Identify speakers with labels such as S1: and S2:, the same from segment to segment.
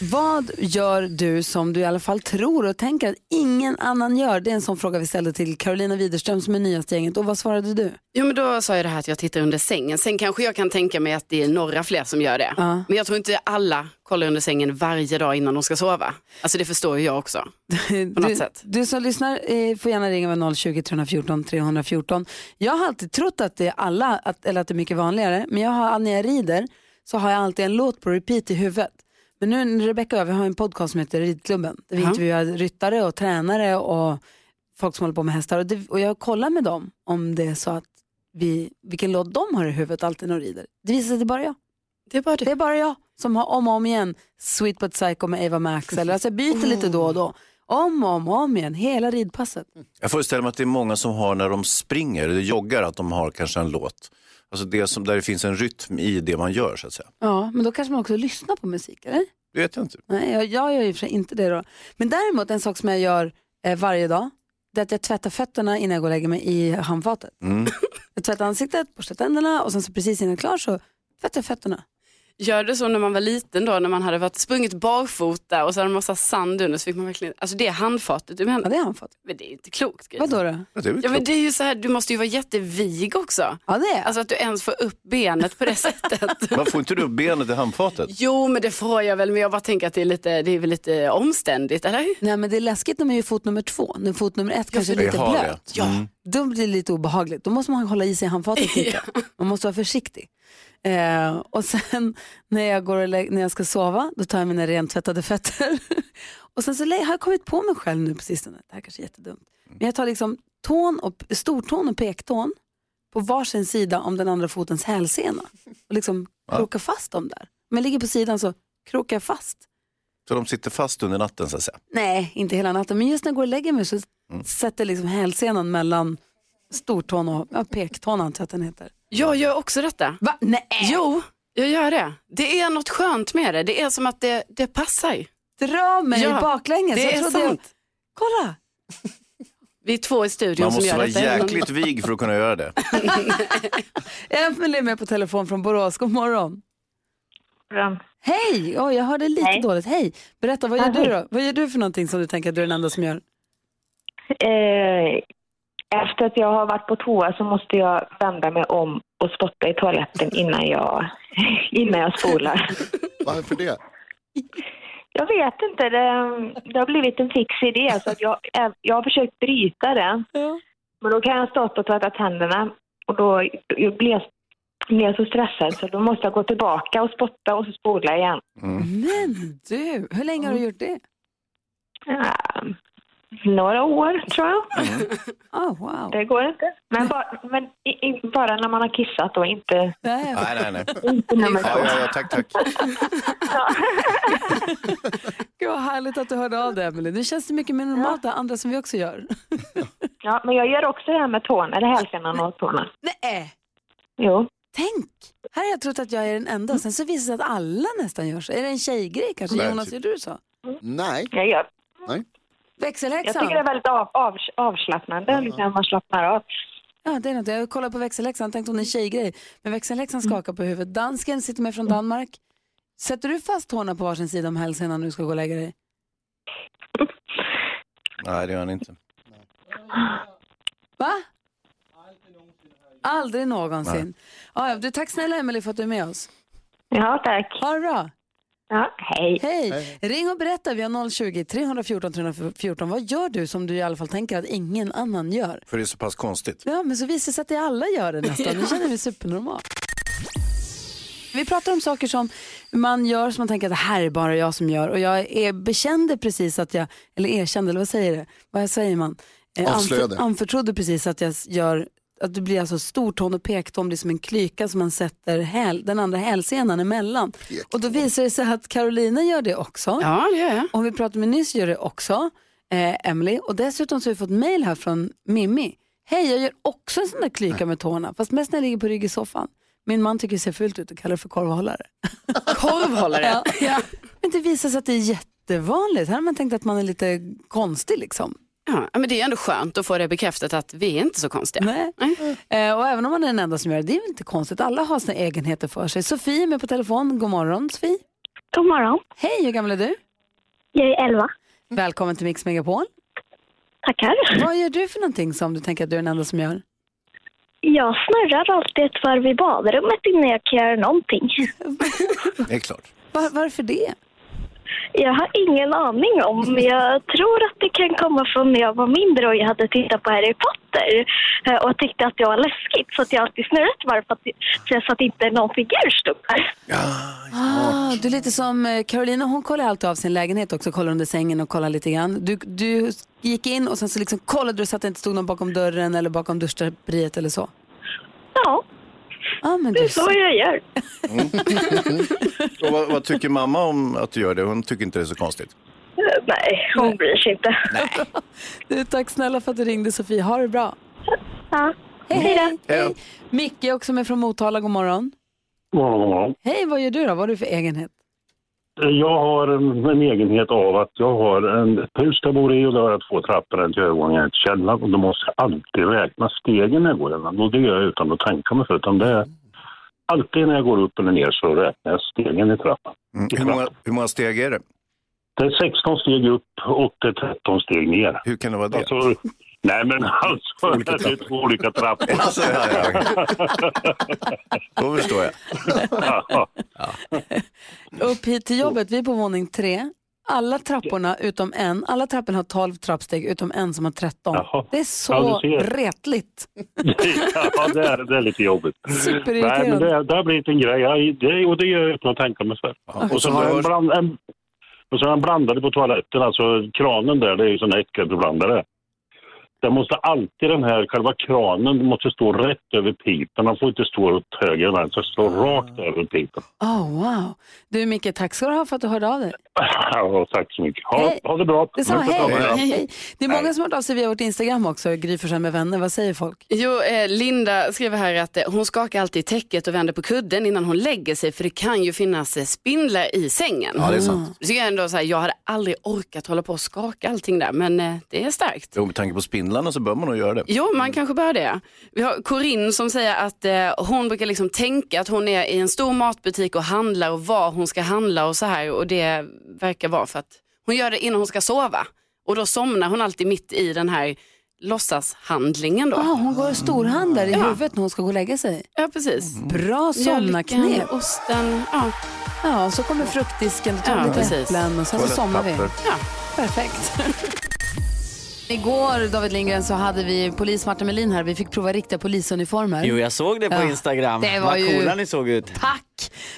S1: Vad gör du som du i alla fall tror och tänker att ingen annan gör? Det är en sån fråga vi ställde till Carolina Widerström som är nyast i gänget. Och vad svarade du?
S2: Jo men då sa jag det här att jag tittar under sängen. Sen kanske jag kan tänka mig att det är några fler som gör det.
S1: Ja.
S2: Men jag tror inte alla kollar under sängen varje dag innan de ska sova. Alltså det förstår ju jag också. På något
S1: du,
S2: sätt.
S1: Du som lyssnar eh, får gärna ringa med 020 314 314. Jag har alltid trott att det är alla, att, eller att det är mycket vanligare. Men jag har, när jag rider så har jag alltid en låt på repeat i huvudet. Men nu när Rebecca och jag, vi har en podcast som heter Ridklubben. Där vi
S2: Ja.
S1: intervjuar ryttare och tränare och folk som håller på med hästar. Och, det, och jag kollar med dem om det är så att vi, vilken låt de har i huvudet alltid när de rider. Det visar sig att det är bara jag.
S2: Det är bara
S1: Det är bara jag som har om och om igen Sweet But Psycho med Ava Max. Eller, alltså jag byter lite då och då. Om och om, och om igen, hela ridpasset.
S3: Jag föreställer mig att det är många som har när de springer eller joggar att de har kanske en låt. Alltså det som, där det finns en rytm i det man gör så att säga.
S1: Ja, men då kanske man också lyssnar på musik, eller?
S3: Det vet jag inte.
S1: Nej, jag, jag gör i och för sig inte det då. Men däremot en sak som jag gör eh, varje dag, det är att jag tvättar fötterna innan jag går och lägger mig i handfatet. Jag tvättar ansiktet, borstar tänderna och sen så precis innan jag är klar så tvättar jag fötterna.
S2: Gör det så när man var liten då när man hade varit sprungit barfota och så hade man massa sand under så fick man verkligen, alltså det är handfatet du
S1: Ja,
S2: menar.
S1: det är handfatet.
S2: Men det är inte klokt. Gry.
S1: Vad då? då?
S3: Ja, Det är väl
S2: Ja men
S3: klokt.
S2: det är ju så här, du måste ju vara jättevig också.
S1: Ja, det är
S2: Alltså att du ens får upp benet på det sättet.
S3: Man får inte upp benet i handfatet.
S2: Jo men det får jag väl men jag bara tänker att det är, lite, det är väl lite omständigt eller?
S1: Nej, men det är läskigt när man gör fot nummer två. När fot nummer ett kanske är
S3: för det
S1: lite
S3: har det. Mm.
S1: blöt. Då blir det lite obehagligt. Då måste man hålla i sig i handfatet lite. Man måste vara försiktig. Eh, och sen när jag, går och lä- när jag ska sova, då tar jag mina rentvättade fötter. och sen så lä- har jag kommit på mig själv nu på sistone, det här kanske är jättedumt. Men jag tar liksom tån och, stortån och pektån på varsin sida om den andra fotens hälsena. Och liksom krokar fast dem där. Om jag ligger på sidan så krokar jag fast.
S3: Så de sitter fast under natten så att säga.
S1: Nej, inte hela natten. Men just när jag går och lägger mig så sätter liksom hälsenan mellan stortån och ja, pektån antar jag att den heter.
S2: Jag gör också detta.
S1: Va? Nej!
S2: Jo, jag gör det. Det är något skönt med det. Det är som att det, det passar.
S1: Dra mig
S2: Ja,
S1: baklänges.
S2: det
S1: Jag
S2: är
S1: trodde jag-
S2: sant.
S1: Kolla!
S2: Vi är två i studion
S3: Man
S2: som
S3: måste
S2: gör
S3: vara
S2: detta.
S3: jäkligt vig för att kunna göra det.
S1: Emelie är med på telefon från Borås. God morgon.
S4: program.
S1: Hej! Oj, jag hörde lite
S4: Hej.
S1: dåligt. Hej! Berätta, vad gör
S4: Ja,
S1: du då? Vad gör du för någonting som du tänker att du är den enda som gör?
S4: Eh, efter att jag har varit på toa så måste jag vända mig om och spotta i toaletten innan jag, innan jag spolar.
S5: Varför det?
S4: Jag vet inte, det, det har blivit en fix idé. Så att jag, jag har försökt bryta det.
S1: Ja.
S4: Men då kan jag stå upp och tvätta tänderna och då jag blir blir jag så stressad så då måste jag gå tillbaka och spotta och så spola igen.
S3: Mm.
S1: Men du, hur länge har du gjort det?
S4: Ah, några år tror jag.
S1: Oh, wow.
S4: Det går inte. Men, bara, men i, i, bara när man har kissat då, inte,
S1: Nej, jag-
S3: Nej, nej, nej.
S4: inte när man
S3: Ja, ja, ja, tack, tack.
S1: Gud, vad härligt att du hörde av dig, Emelie. Nu känns det mycket mer normalt det andra som vi också gör.
S4: Ja, men jag gör också det här med tårna, eller hälsenan och tårna.
S1: Nej!
S4: Jo.
S1: Tänk! Här har jag trott att jag är den enda och sen så visar det sig att alla nästan gör så. Är det en tjejgrej kanske?
S3: Nej,
S1: Jonas,
S3: typ.
S1: gjorde du så?
S5: Nej.
S4: Jag, gör. jag
S1: Växelhäxan?
S4: tycker det är väldigt av, av, avslappnande när man slappnar av.
S1: Ja, det är något. Jag kollade på växelhäxan tänkte hon är en tjejgrej. Men växelhäxan
S4: Mm.
S1: skakar på huvudet. Dansken sitter med från Danmark. Sätter du fast tårna på varsin sida om hälsan när du ska gå och lägga dig?
S3: Nej, det gör han inte.
S1: Va? Aldrig någonsin. Ja, ja, du, tack snälla Emelie för att du är med oss.
S4: Ja, tack.
S1: Ha det bra.
S4: Ja, hej.
S1: Hej. Ring och berätta. Vi har 020-314 314. Vad gör du som du i alla fall tänker att ingen annan gör?
S3: För det är så pass konstigt.
S1: Ja, men så visar det sig att det alla gör det nästan. Nu känner vi supernormalt. Vi pratar om saker som man gör som man tänker att det här är bara jag som gör. Och jag är, bekände precis att jag, eller erkände, eller vad säger det? Vad säger man? Eh,
S5: Avslöjade.
S1: anför- anförtrodde precis att jag s- gör att det blir alltså stortån och pekton, det är som en klyka som man sätter häl, den andra hälsenan emellan. Och då visar det sig att Carolina gör det också.
S2: Ja, det gör jag.
S1: Och vi pratade med nyss gör det också, eh, Emily. Och dessutom så har vi fått mail här från Mimmi. Hej, jag gör också en sån där klyka med tårna, fast mest när jag ligger på rygg i soffan. Min man tycker det ser fult ut och kallar det för korvhållare.
S2: Korvhållare.
S1: Ja.
S2: ja. Ja.
S1: Men det visar sig att det är jättevanligt. Här har man tänkt att man är lite konstig liksom.
S2: men det är ändå skönt att få det bekräftat att vi är inte så konstiga.
S1: Nej. Eh, och även om man är den enda som gör det, det är väl inte konstigt. Alla har sina egenheter för sig. Sofie är med på telefon. God morgon Sofie.
S6: God morgon.
S1: Hej, hur gammal är du?
S6: Jag är elva.
S1: Välkommen till Mix Megapol.
S6: Tackar.
S1: Vad gör du för någonting som du tänker att du är den enda som gör?
S6: Jag snurrar alltid ett varv i badrummet innan jag kan göra någonting.
S3: Det är klart.
S1: Var, varför det?
S6: Jag har ingen aning om, men jag tror att det kan komma från när jag var mindre och jag hade tittat på Harry Potter eh, och tyckte att det var läskigt så att jag alltid snurrade ett varv för att, för jag- så att inte någon figur stod där.
S1: Ah, du är lite som eh, Carolina, hon kollar alltid av sin lägenhet också, kollar under sängen och kollar lite grann. Du, du gick in och sen så liksom kollade du så att det inte stod någon bakom dörren eller bakom duschdraperiet eller så.
S6: Ja,
S1: Ah, men
S6: det
S1: du,
S6: är så jag gör.
S3: Och vad, vad tycker mamma om att du gör det? Hon tycker inte det är så konstigt.
S6: Eh, Nej, hon bryr sig inte.
S1: du, tack snälla för att du ringde Sofie, ha det bra.
S6: Ja.
S1: Hej, hej,
S3: Hej då.
S1: hej. Micke är också med från Motala, god morgon.
S7: God morgon.
S1: Hej, vad gör du då? Vad har du för egenhet?
S7: Jag har en en egenhet av att jag har en ett hus jag bor i och då har jag två trappor, en till övervåningen och en till källaren. Och då måste jag alltid räkna stegen när jag går igenom. Och det gör jag utan att tänka mig för. Utan det är alltid när jag går upp eller ner så räknar jag stegen i trappan.
S3: Mm. Hur, många, hur många steg är det?
S7: Det är 16 steg upp och det är 13 steg ner.
S3: Hur kan det vara det?
S7: Alltså, nej men alltså,
S3: Olika
S7: det är
S3: trappor.
S7: två olika trappor.
S3: Alltså, ja, ja. Då förstår jag.
S1: Upp hit till jobbet, vi är på våning tre. Alla trapporna utom en, alla trapporna har 12 trappsteg utom en som har 13.
S7: Jaha.
S1: Det är så
S7: Ja, du ser.
S1: retligt.
S7: ja, det är, det är lite jobbigt.
S1: Superirriterande.
S7: Nej, men det, det har blivit en grej. Jag, det, och det gör jag utan att tänka mig för. Och så
S3: som
S7: har
S3: du
S7: jag en,
S3: hör-
S7: bland, en, och så har jag en blandare på toaletten, alltså kranen där, det är ju sån här äckelblandare. Den måste alltid den här, själva kranen måste stå rätt över pipen. Den får inte stå åt höger, den här, så stå rakt över pipen.
S1: Oh, wow. Du Micke, tack ska du ha för att du hörde av dig.
S7: Ja, tack så mycket. Ha,
S1: Hej.
S7: ha det bra.
S1: Det sa,
S7: Puss och
S1: hej,
S7: kram.
S1: hej, hej. Det är många som har hört av sig via vårt Instagram också, Gry Forssell med vänner. Vad säger folk?
S2: Jo, eh, Linda skriver här att eh, hon skakar alltid i täcket och vänder på kudden innan hon lägger sig för det kan ju finnas eh, spindlar i sängen. Mm.
S3: Ja, det är sant.
S2: Så tycker jag, ändå så här, jag hade aldrig orkat hålla på och skaka allting där men eh, det är starkt.
S3: Jo, med tanke på spindlarna så bör man nog göra det.
S2: Jo, man kanske bör det. Vi har Corinne som säger att eh, hon brukar liksom tänka att hon är i en stor matbutik och handlar och vad hon ska handla och så här och det verkar vara för att hon gör det innan hon ska sova och då somnar hon alltid mitt i den här låtsashandlingen då.
S1: Ah, hon går och storhandlar i huvudet när hon ska gå och lägga sig.
S2: Ja, precis.
S1: Bra somnarknep.
S2: Mjölken, osten, ja.
S1: Ja, och så kommer fruktdisken, du tar
S2: Ja,
S1: lite
S2: precis.
S1: äpplen och sen så somnar vi.
S3: Papper.
S1: Perfekt. Igår, David Lindgren, så hade vi polis Martin Melin här. Vi fick prova riktiga polisuniformer.
S8: Jo, jag såg det på
S1: Ja.
S8: Instagram.
S1: Det var
S8: Vad
S1: ju-
S8: coola ni såg ut.
S1: Tack!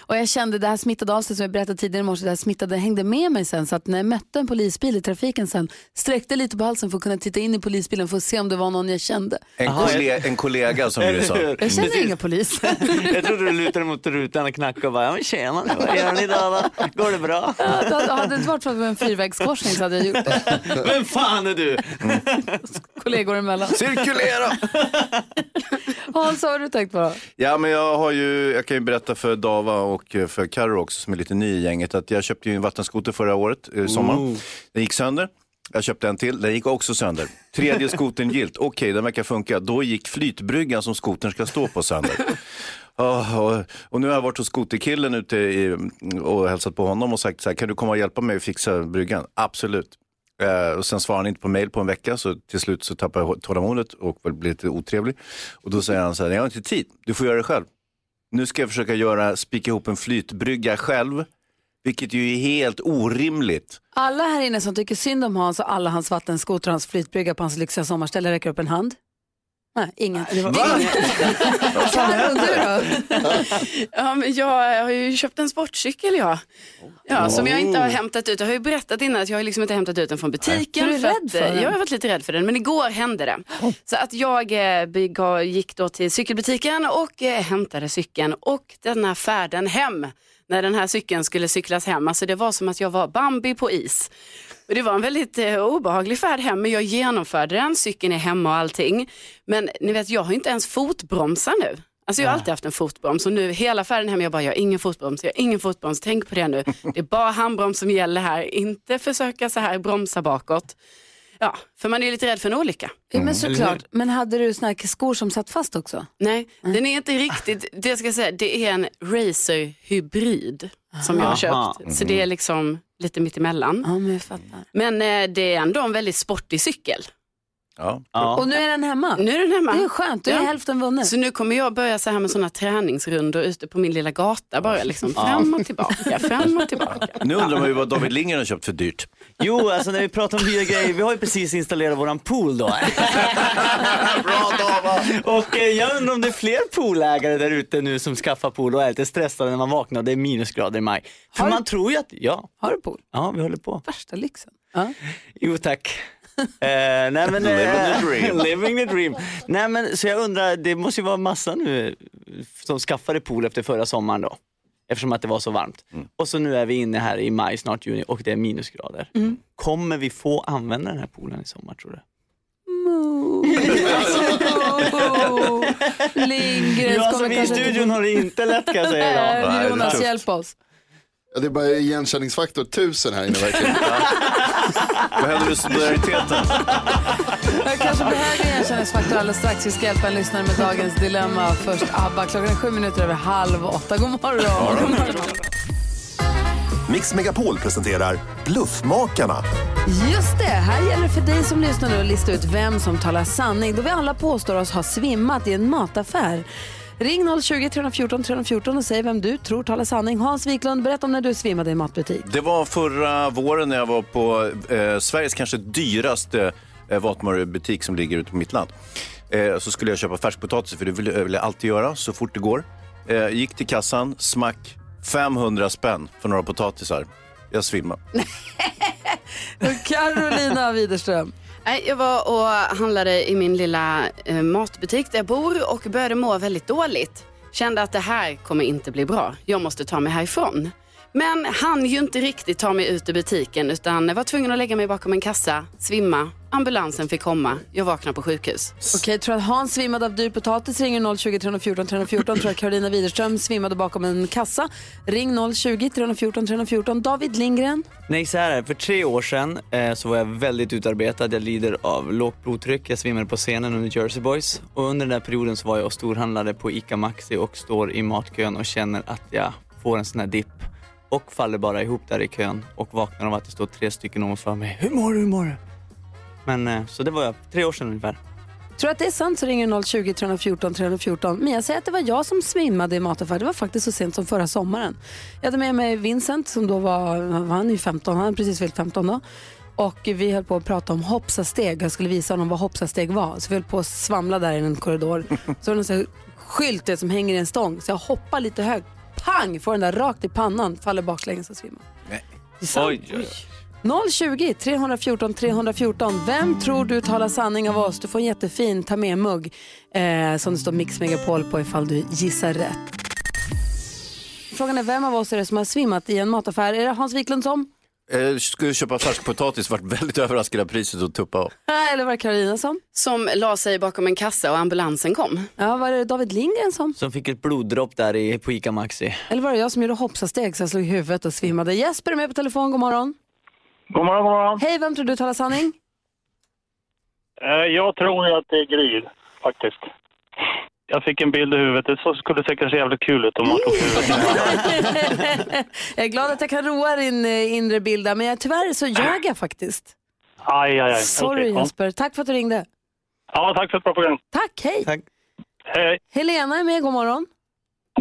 S1: Och jag kände, det här smittade av sig som jag berättade tidigare i morse, det här smittade hängde med mig sen. Så att när jag mötte en polisbil i trafiken sen, sträckte lite på halsen för att kunna titta in i polisbilen för att se om det var någon jag kände.
S3: En, kolle- en kollega som du sa.
S1: Jag känner inga poliser.
S8: Jag trodde du lutade mot rutan och knackade och bara, ja men tjena, vad gör ni idag då? Går det bra?
S1: Hade hade det inte varit för att det var en fyrvägskorsning så hade jag gjort det.
S8: Vem fan är du?
S1: Kollegor emellan.
S3: Cirkulera!
S1: Hans, vad har du tänkt på då?
S3: Ja, men jag, har ju, jag kan ju berätta för Dava och eh, för Karo också som är lite ny i gänget att jag köpte ju en vattenskoter förra året, eh, sommaren. Den gick sönder. Jag köpte en till, den gick också sönder. Tredje skotern gilt, okej den verkar funka. Då gick flytbryggan som skotern ska stå på sönder. Ah, och, och nu har jag varit hos skoterkillen ute i, och hälsat på honom och sagt så här, kan du komma och hjälpa mig att fixa bryggan? Absolut. Eh, och sen svarar han inte på mail på en vecka så till slut så tappar jag tålamodet och blir lite otrevlig. Och då säger han så här, jag har inte tid, du får göra det själv. Nu ska jag försöka göra, spika ihop en flytbrygga själv, vilket ju är helt orimligt.
S1: Alla här inne som tycker synd om Hans och alla hans vattenskotrar och hans flytbrygga på hans lyxiga sommarställe räcker upp en hand. Nej, inget. Det var...
S2: Karin, du då? ja, men jag har ju köpt en sportcykel jag. Ja, som jag inte har hämtat ut. Jag har ju berättat innan att jag har liksom inte hämtat ut den från butiken.
S1: Du är rädd
S2: att,
S1: för den.
S2: eh, Jag har varit lite rädd för den, men igår hände det. Så att jag eh, begav- gick då till cykelbutiken och eh, hämtade cykeln och den här färden hem, när den här cykeln skulle cyklas hem, alltså det var som att jag var Bambi på is. Och det var en väldigt eh, obehaglig färd hem, men jag genomförde den, cykeln är hemma och allting. Men ni vet, jag har ju inte ens fotbromsar nu. Alltså jag har alltid haft en fotbroms och nu hela färden hem, jag bara, jag har ingen fotbroms, jag har ingen fotbroms, tänk på det nu. Det är bara handbroms som gäller här, inte försöka så här bromsa bakåt. Ja, för man är ju lite rädd för en olycka.
S1: Ja, men såklart. Men hade du såna här skor som satt fast också?
S2: Nej, den är inte riktigt, det ska jag säga, det är en racerhybrid som jag har
S1: Aha. Mm.
S2: köpt. Så det är liksom lite mittemellan.
S1: Ja, men jag fattar.
S2: Men eh, det är ändå en väldigt sportig cykel.
S3: Ja.
S1: Och nu är den hemma?
S2: Nu är den hemma.
S1: Det är skönt, då är
S2: Ja.
S1: hälften vunnen.
S2: Så nu kommer jag börja så här med sådana träningsrundor ute på min lilla gata bara liksom fram och tillbaka, fram och tillbaka.
S3: Nu undrar man ju vad David Lindgren har köpt för dyrt.
S8: Jo, alltså när vi pratar om nya grejer, vi har ju precis installerat våran pool då. Och eh, jag undrar om det är fler poolägare där ute nu som skaffar pool och är lite stressade när man vaknar och det är minusgrader i maj. För man tror ju att, ja.
S1: Har du pool?
S8: Ja, vi håller på.
S1: Värsta lyxen. Ja.
S8: Jo tack. Eh, nej, men, eh,
S3: Living the dream.
S8: living the dream. Nej, men, så jag undrar, det måste ju vara massa nu eh, som skaffade pool efter förra sommaren då. Eftersom att det var så varmt.
S3: Mm.
S8: Och så nu är vi inne här i maj, snart juni och det är minusgrader. Kommer vi få använda den här poolen i sommar tror du?
S1: Oh, Lindgrens
S8: Ja, alltså,
S1: kommer
S8: vi i
S1: kanske inte...
S8: studion har det inte lätt kan jag säga idag.
S1: Äh,
S3: Nej,
S1: Jonas,
S3: tufft.
S1: hjälp oss.
S9: Ja, det är bara igenkänningsfaktor tusen här inne verkligen.
S3: Vad händer med solidariteten?
S1: Jag kanske behöver en igenkänningsfaktor alldeles strax. Vi ska hjälpa en lyssnare med dagens dilemma. Först ABBA. Klockan är sju minuter över halv åtta. God morgon. God morgon.
S10: Mix Megapol presenterar Bluffmakarna.
S1: Just det, här gäller det för dig som lyssnar nu att lista ut vem som talar sanning då vi alla påstår oss ha svimmat i en mataffär. Ring 020-314 314 och säg vem du tror talar sanning. Hans Wiklund, berätta om när du svimmade i en matbutik.
S3: Det var förra våren när jag var på eh, Sveriges kanske dyraste eh, matvarubutik som ligger ute på mitt land. Eh, så skulle jag köpa färskpotatis, för det vill jag vill jag alltid göra så fort det går. Eh, gick till kassan, smack, 500 spänn för några potatisar. Jag svimmade.
S1: Carolina Widerström.
S2: Nej, jag var och handlade i min lilla eh, matbutik där jag bor och började må väldigt dåligt. Kände att det här kommer inte bli bra. Jag måste ta mig härifrån. Men han ju inte riktigt ta mig ut ur butiken utan jag var tvungen att lägga mig bakom en kassa, svimma. Ambulansen fick komma. Jag vaknade på sjukhus.
S1: Okej, tror att Hans svimmade av dyr potatis ringer 020-314 314. Tror att Carolina Widerström svimmade bakom en kassa. Ring 020-314 314. David Lindgren.
S8: Nej, så här är det. För tre år sedan eh, så var jag väldigt utarbetad. Jag lider av lågt blodtryck. Jag svimmade på scenen under Jersey Boys. Och under den där perioden så var jag och storhandlade på ICA Maxi och står i matkön och känner att jag får en sån här dipp och faller bara ihop där i kön och vaknar av att det står tre stycken ovanför mig. Hur mår du? Hur mår du? Men eh, så det var jag. Tre år sedan ungefär.
S1: Tror att det är sant så ringer 020-314 314. Men jag säger att det var jag som svimmade i mataffär. Det var faktiskt så sent som förra sommaren. Jag hade med mig Vincent som då var, han är ju 15, han hade precis fyllt 15 då. Och vi höll på att prata om hoppsasteg. Jag skulle visa honom vad hoppsasteg var. Så vi höll på att svamla där i en korridor. Så var det en sån här skylt du vet, som hänger i en stång. Så jag hoppar lite högt. Pang! Får den där rakt i pannan. Faller baklänges och svimmar.
S8: Oj, oj, oj.
S1: 020 314 314. Vem tror du talar sanning av oss? Du får en jättefin ta med-mugg eh, som det står Mix Megapol på ifall du gissar rätt. Frågan är vem av oss är det som har svimmat i en mataffär? Är det Hans Wiklund som?
S3: Eh, skulle köpa färskpotatis, vart väldigt överraskad av priset och tuppa av.
S1: Eh, Eller var det Karolina som?
S2: Som la sig bakom en kassa och ambulansen kom.
S1: Ja, var det David Lindgren som?
S8: Som fick ett bloddropp där i, på ICA Maxi.
S1: Eller var det jag som gjorde hoppsasteg så jag slog i huvudet och svimmade? Jesper är med på telefon, god morgon.
S7: God morgon, god morgon.
S1: Hej, vem tror du talar sanning?
S7: Eh, Jag tror ju att det är Gry, faktiskt. Jag fick en bild i huvudet. Det skulle säkert se jävligt kul ut om man tog huvudet.
S1: jag är glad att jag kan roa din eh, inre bild där, men jag, tyvärr så ljög jag faktiskt.
S7: Aj, aj, aj.
S1: Sorry
S7: Okej, ja.
S1: Jesper, tack för att du ringde.
S7: Ja, tack för ett bra program.
S1: Tack, hej.
S8: Tack.
S7: Hej.
S1: Helena är med, god morgon.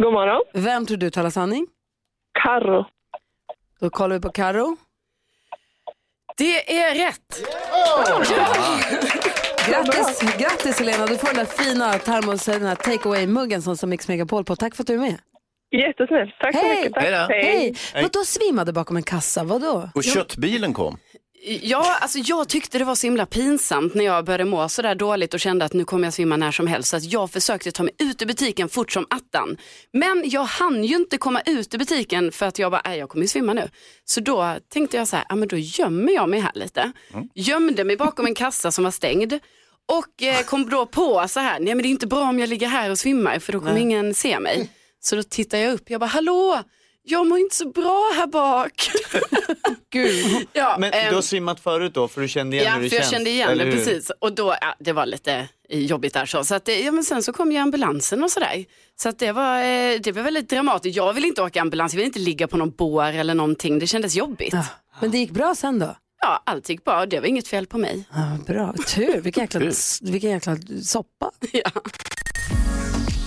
S11: God morgon.
S1: Vem tror du talar sanning?
S11: Karo.
S1: Då kollar vi på Karo.
S2: Det är rätt.
S1: Grattis, grattis Helena, du får den där fina termos, den här take away-muggen som, som Mix Megapol på. Tack för att du är med.
S11: Jättesnällt. Tack så
S1: Hej.
S11: mycket. Tack.
S1: Hej. Vadå svimmade bakom en kassa? Vadå?
S3: Och köttbilen kom.
S2: Ja, alltså jag tyckte det var så himla pinsamt när jag började må sådär dåligt och kände att nu kommer jag svimma när som helst. Så att jag försökte ta mig ut ur butiken fort som attan. Men jag hann ju inte komma ut ur butiken för att jag bara, "Nej, jag kommer ju svimma nu. Så då tänkte jag så här, ja men då gömmer jag mig här lite. Gömde mig bakom en kassa som var stängd. Och eh, kom då på så här, nej men det är inte bra om jag ligger här och svimmar för då kommer
S12: Nej.
S2: ingen se mig. Så då tittar jag upp, jag bara, hallå, jag mår inte så bra här bak. Gud. Ja,
S8: Men
S2: ehm,
S8: du har svimmat förut då, för du kände igen
S2: Ja,
S8: hur det
S2: för jag
S8: känns,
S2: kände igen
S8: eller
S2: det
S8: hur?
S2: precis. Och då, ja, det var lite jobbigt där så. så att, det- ja, men sen så kom ju ambulansen och sådär. Så att det, var, eh, det var väldigt dramatiskt. Jag vill inte åka ambulans, jag vill inte ligga på någon bår eller någonting. Det kändes jobbigt.
S1: Men det gick bra sen då?
S2: Ja, allt gick bra. Det var inget fel på mig.
S1: Ja, bra, tur. Vilken jäkla, vilken jäkla soppa.
S13: Ja,